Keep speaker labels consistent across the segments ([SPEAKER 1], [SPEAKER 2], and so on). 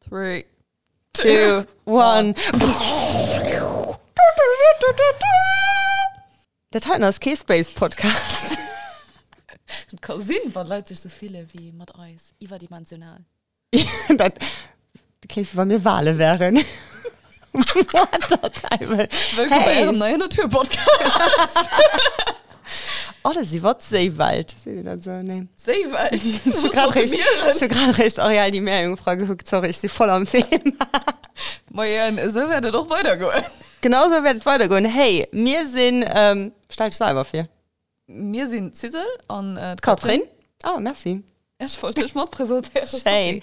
[SPEAKER 1] three, two, one. Der Teil aus K-Space Podcast.
[SPEAKER 2] Kein Sinn weil Leute sich so viele wie mit Eis überdimensional
[SPEAKER 1] das Käfer war mir Wale wären. hey. Oder sie wird Seewald. Sie dann so, nee. Ich hab grad recht, ich hab grad recht Areal die Meerjungfrau geguckt, sorry, ich stehe voll am Thema.
[SPEAKER 2] Marianne, so werde doch weitergehen
[SPEAKER 1] Genauso wird weitergehen. Hey, wir sind, ähm, stell dich selber für.
[SPEAKER 2] mir sind Zisel an äh,
[SPEAKER 1] Katrin? Ah, oh, merci.
[SPEAKER 2] ich wollte dich mal präsentieren
[SPEAKER 1] Shane.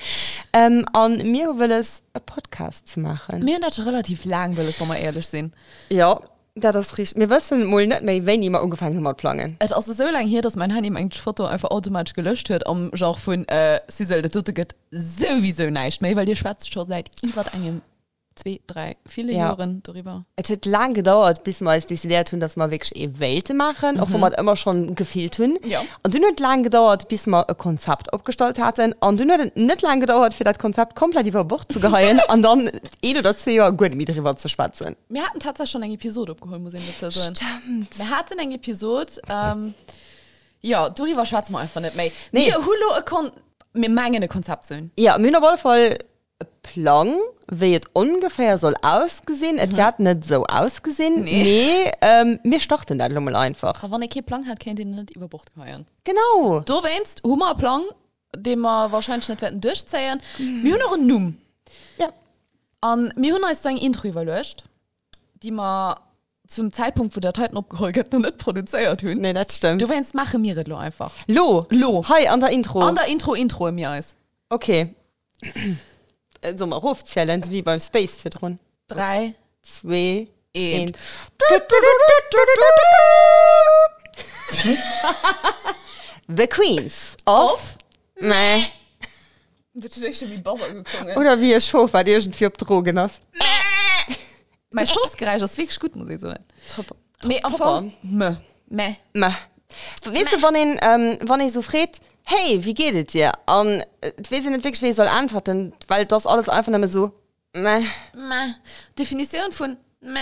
[SPEAKER 1] Ähm, und mir will es einen Podcast zu machen.
[SPEAKER 2] mir das schon relativ lang will es noch mal ehrlich sehen
[SPEAKER 1] Ja, das ist richtig. Wir wissen wohl nicht mehr, wenn jemand angefangen hat mit Planen.
[SPEAKER 2] Et as so lang hier, dass mein Handy mein Foto einfach automatisch gelöscht hue am genre vun äh, Sisel der Tote gëtt sowieso neisch méi, weil Dir Schwarz schon seit iwwer engem 2 3 viele
[SPEAKER 1] Ja.
[SPEAKER 2] ja. Jahren darüber.
[SPEAKER 1] Es hat lang gedauert, bis wir es dezidiert haben, dass wir wirklich eine Welt machen, mhm. auch wenn wir das immer schon gefehlt haben.
[SPEAKER 2] Ja.
[SPEAKER 1] Und dann hat lang gedauert, bis wir ein Konzept abgestellt hatten. Und dann hat nicht lang gedauert, für das Konzept komplett über Bord zu geheuern und dann ein oder zwei Jahre gut mit drüber zu schwatzen.
[SPEAKER 2] Wir hatten tatsächlich schon eng Episode abgeholt muss ich dazu sagen.
[SPEAKER 1] Stimmt.
[SPEAKER 2] Wir hatten eng Episode ähm, ja darüber schwarz mal einfach net méi
[SPEAKER 1] Nee.
[SPEAKER 2] nee. Hulo kon mir mengene Konzept sinn.
[SPEAKER 1] Ja, mir noch wohl voll Plan, wie es ungefähr soll ausgesehen.
[SPEAKER 2] Mhm.
[SPEAKER 1] Es wird nicht so ausgesehen. Nee. nee ähm, wir starten dann mal einfach.
[SPEAKER 2] wann ik Plan hat kennt den net über Bord geheieren.
[SPEAKER 1] Genau.
[SPEAKER 2] Du wennst Hummerplan, de man wahrscheinlich net wetten durchzeieren. Mir noch een Numm.
[SPEAKER 1] Ja.
[SPEAKER 2] An mir hun ist so ein Intro überlöscht, die man zum Zeitpunkt, wo der Titan abgeholt hat, noch nicht produziert hat.
[SPEAKER 1] Nee, das stimmt.
[SPEAKER 2] Du wennst, mache mir das lo einfach.
[SPEAKER 1] Lo.
[SPEAKER 2] Lo.
[SPEAKER 1] Hi, an der Intro.
[SPEAKER 2] An der Intro, Intro im Jahr ist.
[SPEAKER 1] Okay. Äh, so mal Ruf-Challenge wie beim Space Fit run.
[SPEAKER 2] Drei.
[SPEAKER 1] Zwei,
[SPEAKER 2] Eins.
[SPEAKER 1] eins. The Queens of. Meh.
[SPEAKER 2] Das ist echt schon wie Buzzer gekommen.
[SPEAKER 1] Oder wie ihr Schof, weil ihr irgendwie auf Drogen hast.
[SPEAKER 2] Mein Schussgeräusch ist wirklich gut, muss ich sagen. Meh,
[SPEAKER 1] top
[SPEAKER 2] Anfang.
[SPEAKER 1] an.
[SPEAKER 2] Meh. Meh.
[SPEAKER 1] Meh. Weißt du, wenn ich, ähm, wenn ich so fragt, hey, wie geht es dir? Und äh, ich weiß nicht wirklich, wie ich soll antworten, weil das alles einfach nicht mehr so, meh.
[SPEAKER 2] Meh. Definition von meh.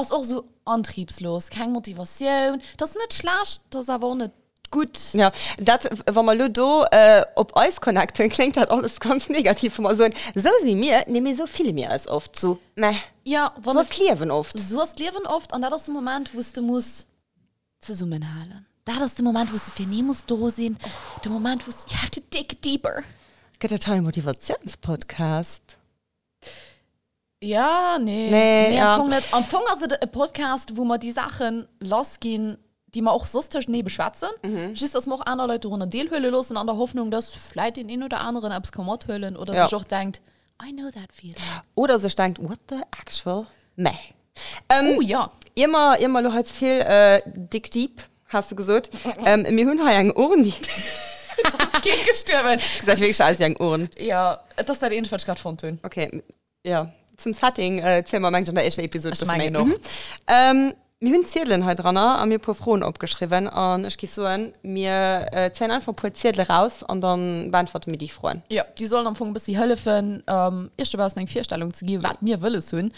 [SPEAKER 2] Ist auch so antriebslos, keine Motivation. Das ist nicht schlecht, das ist aber auch nicht gut.
[SPEAKER 1] Ja, dat wann mal Ludo äh, op Eis connecten klingt hat alles ganz negativ von so ein, so sie mir nehme so viele mir als oft so meh,
[SPEAKER 2] Ja, wenn
[SPEAKER 1] so
[SPEAKER 2] es-
[SPEAKER 1] klewen oft
[SPEAKER 2] so hast leben oft an da das moment wusste muss zu summen halen da das der moment wusste für nie muss do sehen der moment wusste you have to dig deeper
[SPEAKER 1] Gött der Teil Motivationspodcast
[SPEAKER 2] ja nee,
[SPEAKER 1] Nee, ja.
[SPEAKER 2] am Anfang nicht. am Anfang also der Podcast wo man die Sachen losgehen die man auch sonst nie beschwatzen mhm. schießt das auch andere Leute unter Deelhöhle los und an der Hoffnung dass vielleicht den einen oder anderen abs Kommothöhlen
[SPEAKER 1] Ja.
[SPEAKER 2] oder
[SPEAKER 1] Mhm.
[SPEAKER 2] ja. sich auch denkt I know that feeling
[SPEAKER 1] oder so denkt what the actual meh ähm,
[SPEAKER 2] oh ja
[SPEAKER 1] immer immer du hast viel äh, dick deep hast du gesucht ähm, mir hun eng Ohren die
[SPEAKER 2] das Kind gestorben
[SPEAKER 1] gesagt wirklich als eng Ohren
[SPEAKER 2] ja das eh ist halt jedenfalls gerade von Tönen
[SPEAKER 1] okay ja zum Setting äh, Zimmer manchmal in der echten Episode
[SPEAKER 2] Das meine ich
[SPEAKER 1] bisschen mehr.
[SPEAKER 2] noch.
[SPEAKER 1] Mhm. ähm, mir hun Zedlen halt dran an mir pro Froen abgeschrieben an ich gehe so an mir äh, zählen einfach pro Zedel raus und dann beantworte mir die Freuen
[SPEAKER 2] Ja, die sollen am Anfang ein bisschen helfen, ähm, erst mal aus einer Vierstellung zu geben, was mir will es hören,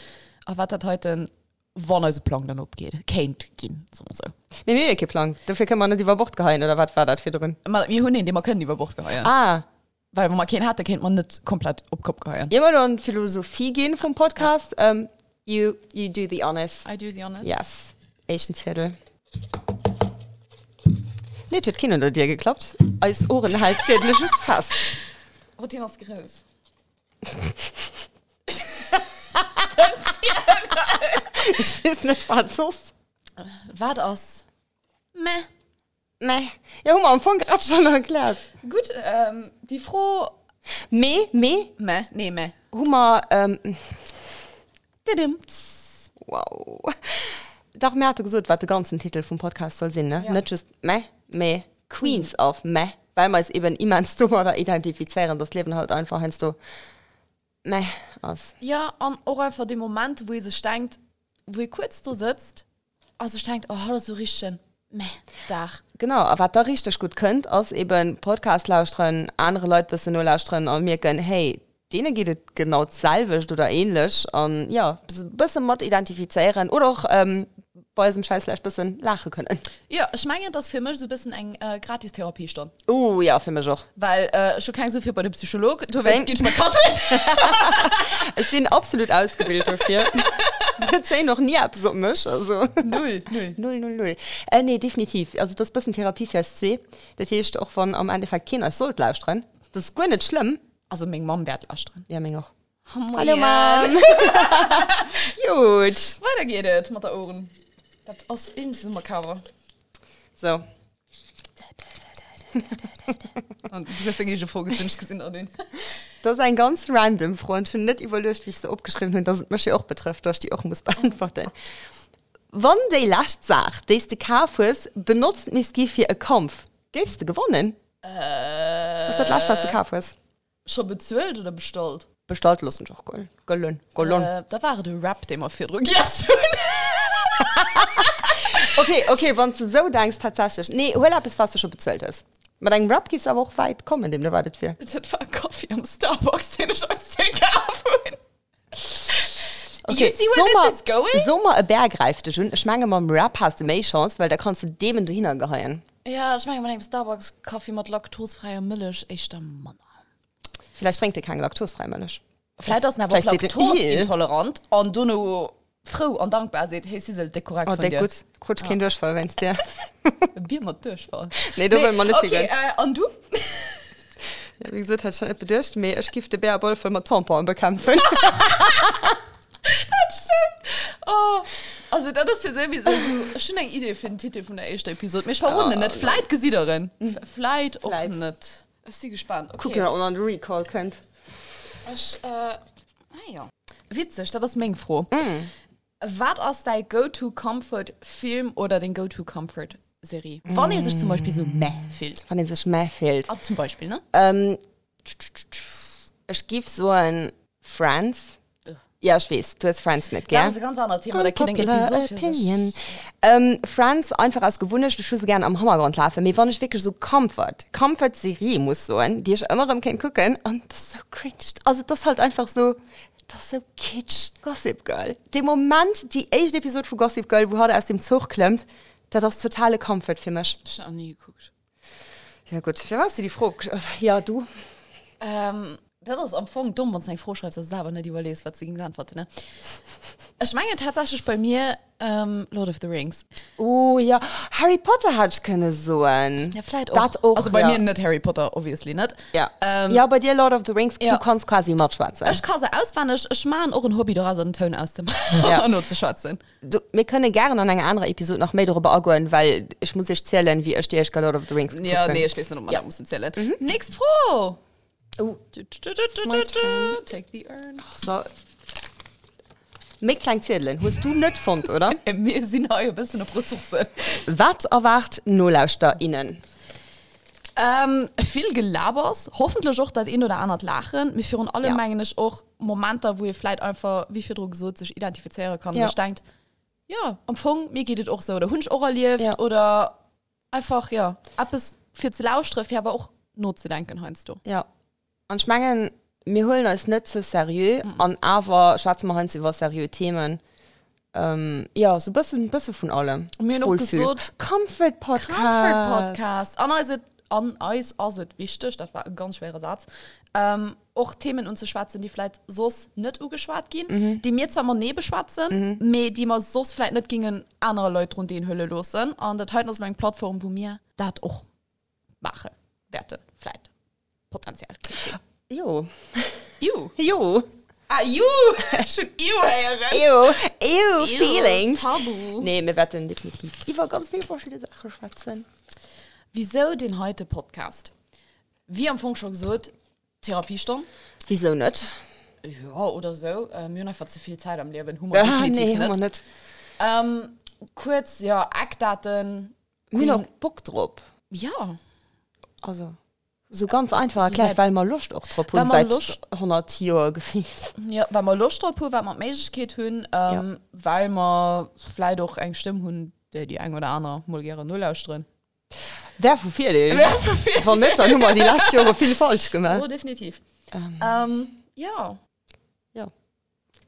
[SPEAKER 2] aber was das heute, wann unser Plan dann abgeht. Kennt gehen, so und so.
[SPEAKER 1] mir mir geplant eh dafür kann man nicht über Bord gehalten oder was war das für drin
[SPEAKER 2] Man, wir haben den, den wir können über Bord geheuern. Ah.
[SPEAKER 1] ah
[SPEAKER 2] Weil wenn man keinen hatte, kennt man nicht komplett auf den Kopf geheuern.
[SPEAKER 1] immer noch in Philosophie gehen vom Podcast ja. ähm, you you do the honest
[SPEAKER 2] I do the honest.
[SPEAKER 1] yes Asian Zettel Nee, das hat keiner unter dir geklappt. Als Ohren halt zedlisch ist fast.
[SPEAKER 2] Routine ist groß.
[SPEAKER 1] Ich weiß nicht, was ist.
[SPEAKER 2] War das? Meh.
[SPEAKER 1] Meh. Ja, Hummer, am Anfang gerade schon erklärt.
[SPEAKER 2] Gut, ähm, die froh.
[SPEAKER 1] Meh, meh,
[SPEAKER 2] Meh, nee, meh.
[SPEAKER 1] Hummer, ähm,
[SPEAKER 2] Didim.
[SPEAKER 1] wow. Doch, mir hat er gesagt, was der ganze Titel vom Podcast soll sein, ne? Ja.
[SPEAKER 2] Ja.
[SPEAKER 1] Nicht just meh, meh, Queens of meh. Weil man es eben immens dummer da identifizieren, das Leben halt einfach heinst du meh aus.
[SPEAKER 2] Ja, und auch einfach den Moment, wo ihr sich denkt, wo ihr kurz da sitzt, also ich denkt, oh, das ist so richtig schön. Meh, da.
[SPEAKER 1] Genau, aber was da richtig gut könnt, ist eben Podcast lauschen, andere Leute bisschen nur lauschen und mir können, hey, denen geht es genau salwisch oder ähnlich und ja ein bisschen Mod identifizieren oder auch ähm, bei diesem Scheiß vielleicht ein bisschen lachen können
[SPEAKER 2] Ja, ich meine, das für mich so ein bisschen ein äh, Gratis-Therapie stand.
[SPEAKER 1] oh ja für mich auch
[SPEAKER 2] Weil äh, schon kein so viel bei dem Psychologen. Du
[SPEAKER 1] Sein-
[SPEAKER 2] weißt, geht mal Kaffee.
[SPEAKER 1] es sind absolut ausgebildet dafür das sehen noch nie ab so mich also
[SPEAKER 2] Null, null.
[SPEAKER 1] null null null äh, nee definitiv also das ist ein bisschen Therapie fürs zwei das hilft auch von am Endeffekt keiner soll dran das ist gar nicht schlimm
[SPEAKER 2] Also, mein Mom wird lasch dran.
[SPEAKER 1] ja mir auch
[SPEAKER 2] Hallo, Mann.
[SPEAKER 1] gut
[SPEAKER 2] Weiter geht es mit den Ohren. Das ist in diesem Cover.
[SPEAKER 1] so
[SPEAKER 2] Und du hast irgendwie schon vorgezündet gesehen, oder?
[SPEAKER 1] Das ist ein ganz random Freund schon nicht überlöst, wie ich es abgeschrieben habe, das sind mich auch betrifft, dass ich die auch muss beantworten. Wann die Last sagt, dass die Kaffers benutzt mich für einen Kampf, gäbst du gewonnen? Äh, was ist das Last, was die Kaffers?
[SPEAKER 2] Schon bezahlt oder bestellt?
[SPEAKER 1] Bestellt lassen doch Gold. Gollen. Gollen. Äh.
[SPEAKER 2] Äh, da war der Rap, den wir für drücken. Ja, so. Äh.
[SPEAKER 1] Okay, okay, wenn du so denkst, tatsächlich. Nee, hol ab, bis was du schon bezahlt hast. Mit deinem Rap gibst du aber auch weit kommen, dem du wartet für.
[SPEAKER 2] Das war ein Kaffee am Starbucks, den ich aus dem Kaffee. You see where
[SPEAKER 1] Sommer-
[SPEAKER 2] this is going?
[SPEAKER 1] Sommer ein Berg reift schon. Ich meine, mit dem Rap hast du mehr Chance, weil da kannst du dem und du hingehen.
[SPEAKER 2] Ja, ich meine, bei dem Starbucks Kaffee mit laktosfreier Milch, ich der Mann.
[SPEAKER 1] Vielleicht trinkt ihr keinen laktosfreien Milch.
[SPEAKER 2] Vielleicht ist er aber
[SPEAKER 1] Vielleicht seht ihr-
[SPEAKER 2] laktoseintolerant und du nur froh und dankbar seid, hey, sie sind dekorat
[SPEAKER 1] Oh,
[SPEAKER 2] von dir.
[SPEAKER 1] der gut. Kutsch kein Durchfall, wenn's dir.
[SPEAKER 2] Ein Bier mit Durchfall.
[SPEAKER 1] Nee, da will man nicht
[SPEAKER 2] okay,
[SPEAKER 1] hingehen.
[SPEAKER 2] äh, und du?
[SPEAKER 1] Ja, wie gesagt, hat schon nicht bedürft, mehr. Ich gebe den Bärball für mein Tampon bekämpfen.
[SPEAKER 2] Oh, also das ist für selber so eine schöne Idee für den Titel von der ersten Episode. Mich verwundert nicht. Vielleicht Gesiederin. Vielleicht auch
[SPEAKER 1] Ah, Mhm. Vielleicht.
[SPEAKER 2] nicht. Ich bin gespannt. Okay.
[SPEAKER 1] Guck mal, ob ihr einen Recall könnt.
[SPEAKER 2] Ich, äh, ah ja. Witzig, das ist mein froh.
[SPEAKER 1] Mhm.
[SPEAKER 2] Mm. Was ist dein Go-To-Comfort-Film oder den Go-To-Comfort-Serie? Mm. Wann ist es zum Beispiel
[SPEAKER 1] Mhm.
[SPEAKER 2] so meh fehlt?
[SPEAKER 1] Wenn ihr sich mehr fehlt.
[SPEAKER 2] Ah, zum Beispiel, ne?
[SPEAKER 1] Ähm, ich gebe so ein Friends. Ja, ich weiß, du hast Friends nicht,
[SPEAKER 2] Ja.
[SPEAKER 1] gell?
[SPEAKER 2] Das ist ein ganz anderes Thema, da kann ich
[SPEAKER 1] Unpopular
[SPEAKER 2] Episode für sich.
[SPEAKER 1] Opinion. Ähm, Franz, einfach als gewünscht, ich würde gerne am Hammergrund laufen. Mir war nicht wirklich so Comfort. Comfort-Serie muss so ein, die ich immer im Kind gucken. Und das ist so cringe. Also das ist halt einfach so, das ist so kitsch. Gossip Girl. Der Moment, die erste Episode von Gossip Girl, wo er aus dem Zug klemmt, das ist totale Comfort für mich.
[SPEAKER 2] Ich habe nie geguckt.
[SPEAKER 1] Ja gut, für was du die Frage? Ja, du.
[SPEAKER 2] Ähm, das ist am Anfang dumm, wenn du nicht vorschreibst, dass du aber nicht überlegst, was sie gegen die Antwort, ne? Ich meine tatsächlich bei mir ähm, Lord of the Rings.
[SPEAKER 1] Oh ja, Harry Potter hat ich keine Sohn.
[SPEAKER 2] Ja, vielleicht auch.
[SPEAKER 1] Das auch
[SPEAKER 2] also bei
[SPEAKER 1] ja.
[SPEAKER 2] mir nicht Harry Potter, obviously, nicht?
[SPEAKER 1] Ja.
[SPEAKER 2] Ähm,
[SPEAKER 1] ja, bei dir Lord of the Rings,
[SPEAKER 2] ja.
[SPEAKER 1] du kannst quasi mal schwarz sein.
[SPEAKER 2] Ich kann sie auswendig, ich mache auch ein Hobby, da so einen Ton auszumachen.
[SPEAKER 1] Ja.
[SPEAKER 2] Ja. Nur zu schwatzen.
[SPEAKER 1] du, wir können gerne an einer anderen Episode noch mehr darüber argumentieren, weil ich muss euch zählen, wie ich die erste Lord of the Rings geguckt
[SPEAKER 2] Ja,
[SPEAKER 1] habe.
[SPEAKER 2] nee, ich weiß nicht, ob man
[SPEAKER 1] Ja.
[SPEAKER 2] ja. da muss zählen. Mhm. Nächst froh!
[SPEAKER 1] Oh,
[SPEAKER 2] Take the urn.
[SPEAKER 1] so. Mit kleinen Zetteln, hast du nicht gefunden, oder?
[SPEAKER 2] Äh, Wir sind heute ein bisschen auf Ressourcen.
[SPEAKER 1] Was erwartet NullaussterInnen?
[SPEAKER 2] Ähm, viel Gelabers, hoffentlich auch das ein oder andere Lachen. Wir führen alle,
[SPEAKER 1] Ja.
[SPEAKER 2] ja. meine ich, auch Momente, wo ihr vielleicht einfach, wie viel Druck so sich identifizieren kann.
[SPEAKER 1] Ja.
[SPEAKER 2] Ja. Ich denke, ja, am Anfang, mir geht es auch so. Oder Hund auch erlebt,
[SPEAKER 1] Ja.
[SPEAKER 2] ja. oder einfach, ja, ab es für zu lauschen, ja, aber auch nur zu denken, heinst du.
[SPEAKER 1] Ja. Und ich meine, wir holen uns nicht so seriös, mhm. und aber schwarz machen uns über seriöse Themen. Ähm, ja, so ein bisschen, ein bisschen von allem.
[SPEAKER 2] Und wir haben auch
[SPEAKER 1] Wohlfühl.
[SPEAKER 2] gesagt-
[SPEAKER 1] Comfort Podcast.
[SPEAKER 2] Comfort Podcast. An uns ist- An uns ist es wichtig, das war ein ganz schwerer Satz, ähm, auch Themen unzuschwatzen, die vielleicht sonst nicht ungeschwart gehen, die mir zwar mal nie beschwatzen, mhm. mehr die man sonst vielleicht nicht gegen andere Leute rund in Hölle losen. Und das heute ist eine Plattform, wo mir das auch machen werden. Vielleicht Potenzial.
[SPEAKER 1] Jo.
[SPEAKER 2] Ju.
[SPEAKER 1] Jo.
[SPEAKER 2] Ah, ju. Schon ju hören.
[SPEAKER 1] Ew, ew, feelings.
[SPEAKER 2] Tabu.
[SPEAKER 1] Nee, wir werden definitiv. Ich war ganz viel verschiedene Sachen schwatzen.
[SPEAKER 2] Wieso den heute Podcast? Wie am Funk schon gesagt, Therapiesturm.
[SPEAKER 1] Wieso nicht?
[SPEAKER 2] Ja, oder so. Äh, mir einfach zu viel Zeit am Leben. Humor
[SPEAKER 1] Ah,
[SPEAKER 2] definitiv
[SPEAKER 1] nee,
[SPEAKER 2] nicht.
[SPEAKER 1] immer nicht.
[SPEAKER 2] Ähm, kurz, ja, Eckdaten.
[SPEAKER 1] Mir noch Bock drauf.
[SPEAKER 2] Ja.
[SPEAKER 1] Also, so ganz einfach
[SPEAKER 2] so
[SPEAKER 1] erklärt,
[SPEAKER 2] seit-
[SPEAKER 1] weil man Lust auch drauf
[SPEAKER 2] Weil
[SPEAKER 1] hat.
[SPEAKER 2] man
[SPEAKER 1] Seit
[SPEAKER 2] Lust-
[SPEAKER 1] 100 Jahren gefühlt.
[SPEAKER 2] ja, weil wir Lust drauf haben, weil wir die Möglichkeit haben, ähm, ja. weil wir vielleicht auch eine Stimme haben, der die ein oder andere vulgäre Null ausstrahlen.
[SPEAKER 1] Wer von vier denn?
[SPEAKER 2] verfehlt?
[SPEAKER 1] Von nicht, dann haben wir die letzten Jahre viel falsch gemacht.
[SPEAKER 2] Oh, definitiv. Ähm. Ähm, ja
[SPEAKER 1] ja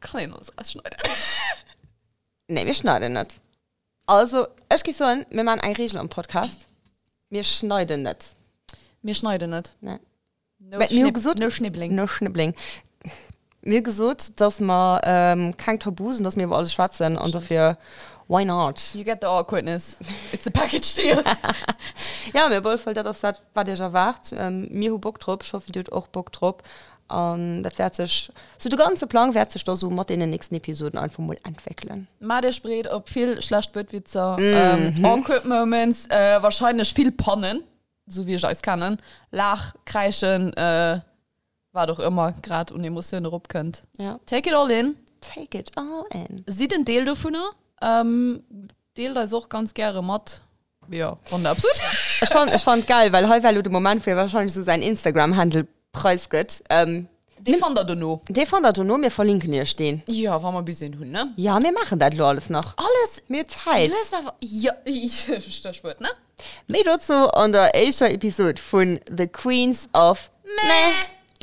[SPEAKER 2] kann ich noch ausschneiden
[SPEAKER 1] nee wir schneiden nicht also ich gehe so hin, wir machen ein Regel am Podcast wir schneiden nicht
[SPEAKER 2] mir schneiden nicht
[SPEAKER 1] ne
[SPEAKER 2] no
[SPEAKER 1] Weil mir
[SPEAKER 2] Schnipp-
[SPEAKER 1] gesagt-
[SPEAKER 2] no Schnibbling
[SPEAKER 1] nur Schnibbling mir gesagt dass man ähm, kein Tabusen dass wir über alles schwarz sind und dafür why not
[SPEAKER 2] you get the awkwardness it's a package deal
[SPEAKER 1] ja mir wohl voll das hat war der erwacht ähm, mir hu Bock drauf ich hoffe du auch Bock drauf und das wird sich so der ganze Plan wird sich da so mit in den nächsten Episoden einfach mal entwickeln
[SPEAKER 2] Ma der spreet op viel Schlachtbildwitzer mm -hmm. ähm, moments äh, wahrscheinlich viel Pannen so wie ich es kann lach kreischen äh, war doch immer grad und Emotionen rub könnt
[SPEAKER 1] ja
[SPEAKER 2] take it all in
[SPEAKER 1] take it all in
[SPEAKER 2] sieht den Deel davon ähm, Deel da ist auch ganz gerne matt ja und absolut
[SPEAKER 1] ich fand, ich fand geil weil heute weil du den Moment für wahrscheinlich so sein Instagram Handel preisgibt ähm,
[SPEAKER 2] die fand er no
[SPEAKER 1] der fand das nur mir verlinken hier stehen
[SPEAKER 2] ja war mal bisschen hun ne
[SPEAKER 1] ja wir machen das alles noch
[SPEAKER 2] alles
[SPEAKER 1] mir Zeit
[SPEAKER 2] du hast aber ja ich, das wird, ne
[SPEAKER 1] Me dazu an der älter Episode von The Queens of Meh.
[SPEAKER 2] Mäh.